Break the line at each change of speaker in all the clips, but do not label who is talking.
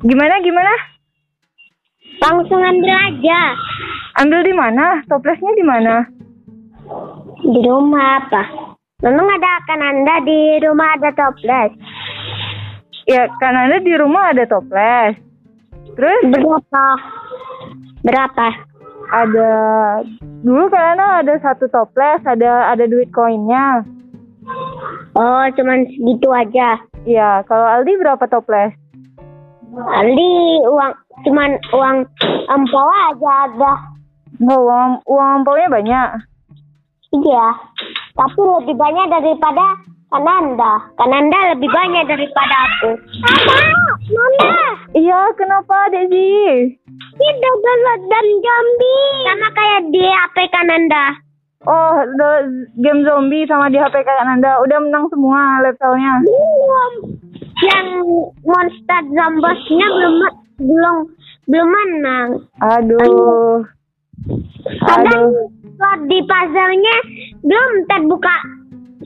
Gimana gimana?
Langsung ambil aja.
Ambil di mana? Toplesnya di mana?
Di rumah apa? Memang ada kan Anda di rumah ada toples?
Ya, kan Anda di rumah ada toples. Terus
Berapa? Berapa?
ada dulu kan Anda ada satu toples, ada ada duit koinnya.
Oh, cuman segitu aja.
Iya, kalau Aldi berapa toples?
Ali uang cuman uang empol aja ada.
Oh, uang uang ampolnya banyak.
Iya. Tapi lebih banyak daripada Kananda. Kananda lebih banyak daripada aku. Apa? Mama,
Iya, kenapa, Desi?
kita download dan zombie. Sama kayak di HP Kananda.
Oh, the game zombie sama di HP kakak Anda udah menang semua levelnya.
Belum. Yang monster zombosnya belum belum belum menang.
Aduh.
Kadang
Aduh.
slot di puzzle-nya belum terbuka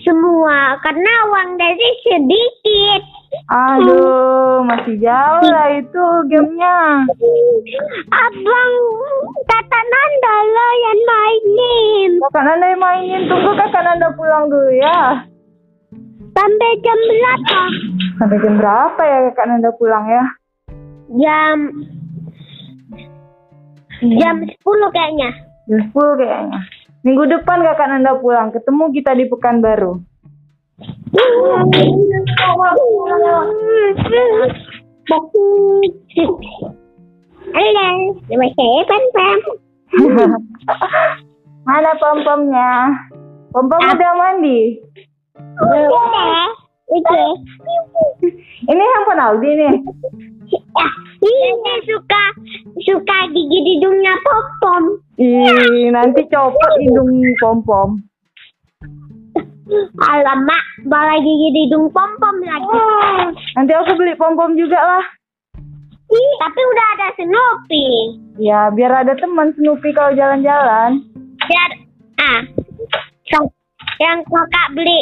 semua karena uang dari sedikit.
Aduh, masih jauh lah itu gamenya.
Abang Tata Nanda lah yang mainin.
Kakak Anda yang mainin, tunggu kakak Anda pulang dulu ya.
Sampai jam berapa?
Sampai jam berapa ya kakak Anda pulang ya?
Jam jam 10 kayaknya.
Jam 10 kayaknya. Minggu depan kakak Anda pulang, ketemu kita di Pekanbaru.
Halo, nama saya Pam Pam.
Mana pom-pomnya? Pom-pom udah mandi.
Udah, udah.
Ini handphone Aldi nih.
Ah, ini suka suka gigi di dunia popom.
Ih, nanti copot hidung pom-pom.
Alamak, bala gigi di hidung pom-pom lagi.
Nanti aku beli pom-pom juga lah.
Ih, tapi udah ada Snoopy.
Ya, biar ada teman Snoopy kalau jalan-jalan.
Biar, ah, so- yang kakak beli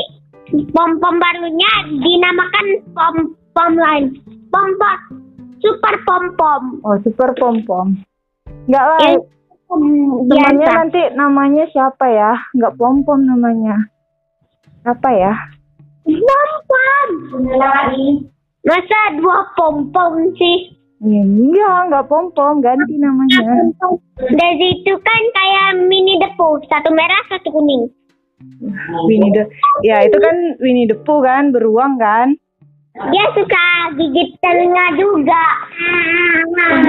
pom-pom barunya dinamakan pom-pom lain. Pom-pom, super pom-pom.
Oh, super pom-pom. Enggak lah,
Yang pom
Oh, temannya
biasa.
nanti namanya siapa ya? Enggak pom-pom namanya. Apa ya?
Pom-pom. Masa dua pom-pom sih?
Ya, enggak, enggak pom-pom, ganti namanya.
Dari itu kan kayak mini depo, satu merah, satu kuning.
Winnie the Ya, itu kan Winnie the Pooh kan, beruang kan?
Dia suka gigit telinga juga.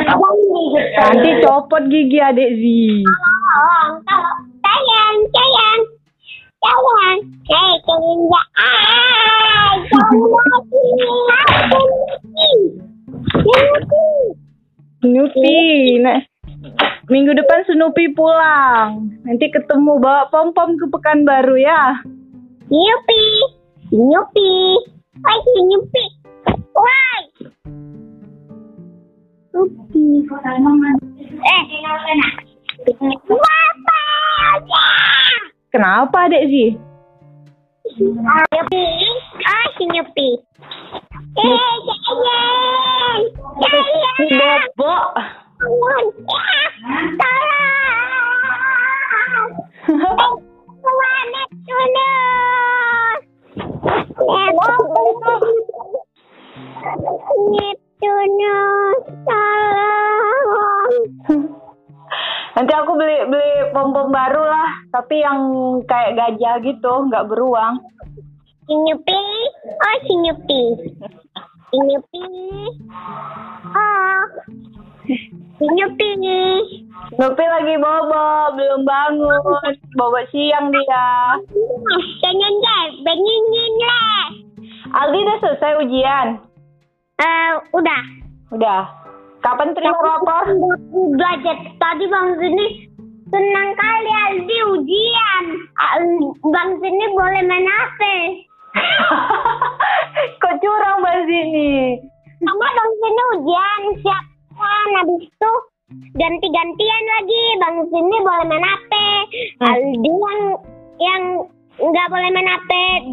Abang gigit
Nanti copot gigi Adik Zi.
tolong, tolong. Sayang, sayang. Sayang, saya telinga. Ah, jangan lagi. Jangan lagi. Jangan lagi.
Snoopy. Nah, minggu depan Snoopy pulang. Nanti ketemu bawa pom-pom ke Pekanbaru ya.
Yupi. Yupi. Woi, si Yupi. Woi. Yupi. Eh. Kenapa?
Kenapa Dek Zi?
Yupi. Oh, si Yupi. Eh, sayang. Sayang.
Bobok.
Tolong. Tolong. Planet Neptunus. Neptunus, tolong.
Nanti aku beli beli pom-pom baru lah, tapi yang kayak gajah gitu, nggak beruang.
Sinyupi, oh sinyupi. Sinyupi. Oh. Sinyupi.
Snoopy lagi bobo, belum bangun. Bobo siang dia.
Jangan deh, bengingin lah.
Aldi udah selesai ujian.
Eh, udah.
Udah. Kapan terima rapor?
Belajar tadi Bang Zini senang kali Aldi ujian. Al- Bang Zini boleh main HP.
Kok curang bahas ini?
Sama Bang Zini ujian siapkan habis itu ganti-gantian lagi Bang Zini boleh main HP.
Hmm.
Aldi yang yang nggak boleh main HP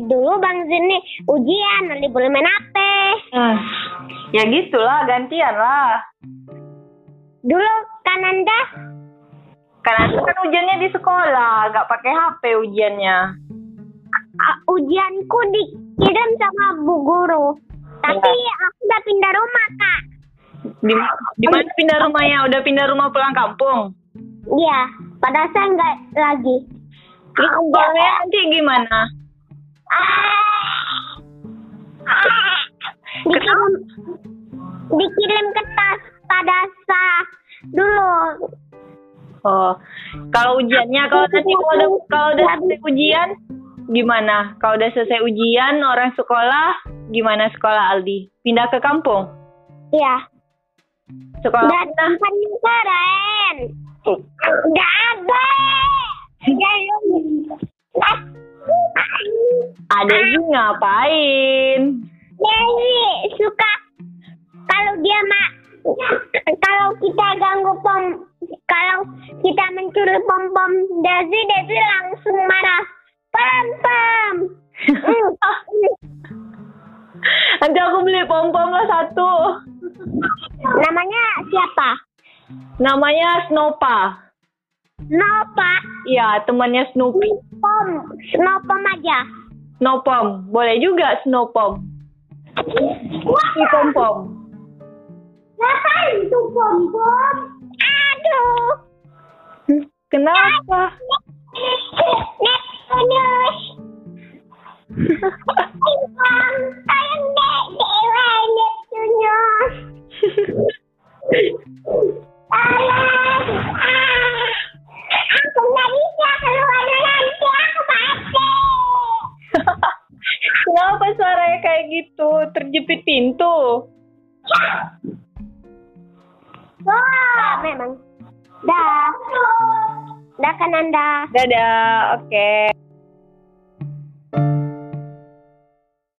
dulu Bang Zini ujian Aldi boleh main HP.
Hmm. Ya gitulah, gantian lah.
Dulu kan Kananda
Karena itu kan ujiannya di sekolah, gak pakai HP ujiannya.
uh, ujianku dikirim sama bu guru. Tapi aku udah pindah rumah kak.
Di, di mana pindah rumahnya? Udah pindah rumah pulang kampung.
Iya, pada saya nggak lagi.
Terus ujiannya nanti gimana?
Dikirim, dikirim kertas pada saya dulu.
Oh, kalau ujiannya kalau nanti kalau udah kalau udah selesai ujian gimana? Kalau udah selesai ujian orang sekolah gimana sekolah Aldi? Pindah ke kampung?
Iya.
Sekolah
Udah tempat yang keren. Udah ada.
ada Zee ngapain?
Dewi suka kalau dia mak kalau kita ganggu pom kalau kita mencuri pom pom Desi Desi langsung marah pom pom Hmm.
Nanti aku beli pom pom lah satu.
namanya siapa
Namanya Snopa.
Nopa
Iya, temannya Snoopy.
pom Nopom aja
Snowpom. Boleh juga Snowpom. Si pom pom.
Ngapain tuh pom pom aduh
Kenapa? Kenapa suaranya kayak gitu? Terjepit pintu.
Memang. Dah. Dah kan Anda.
Dadah, oke.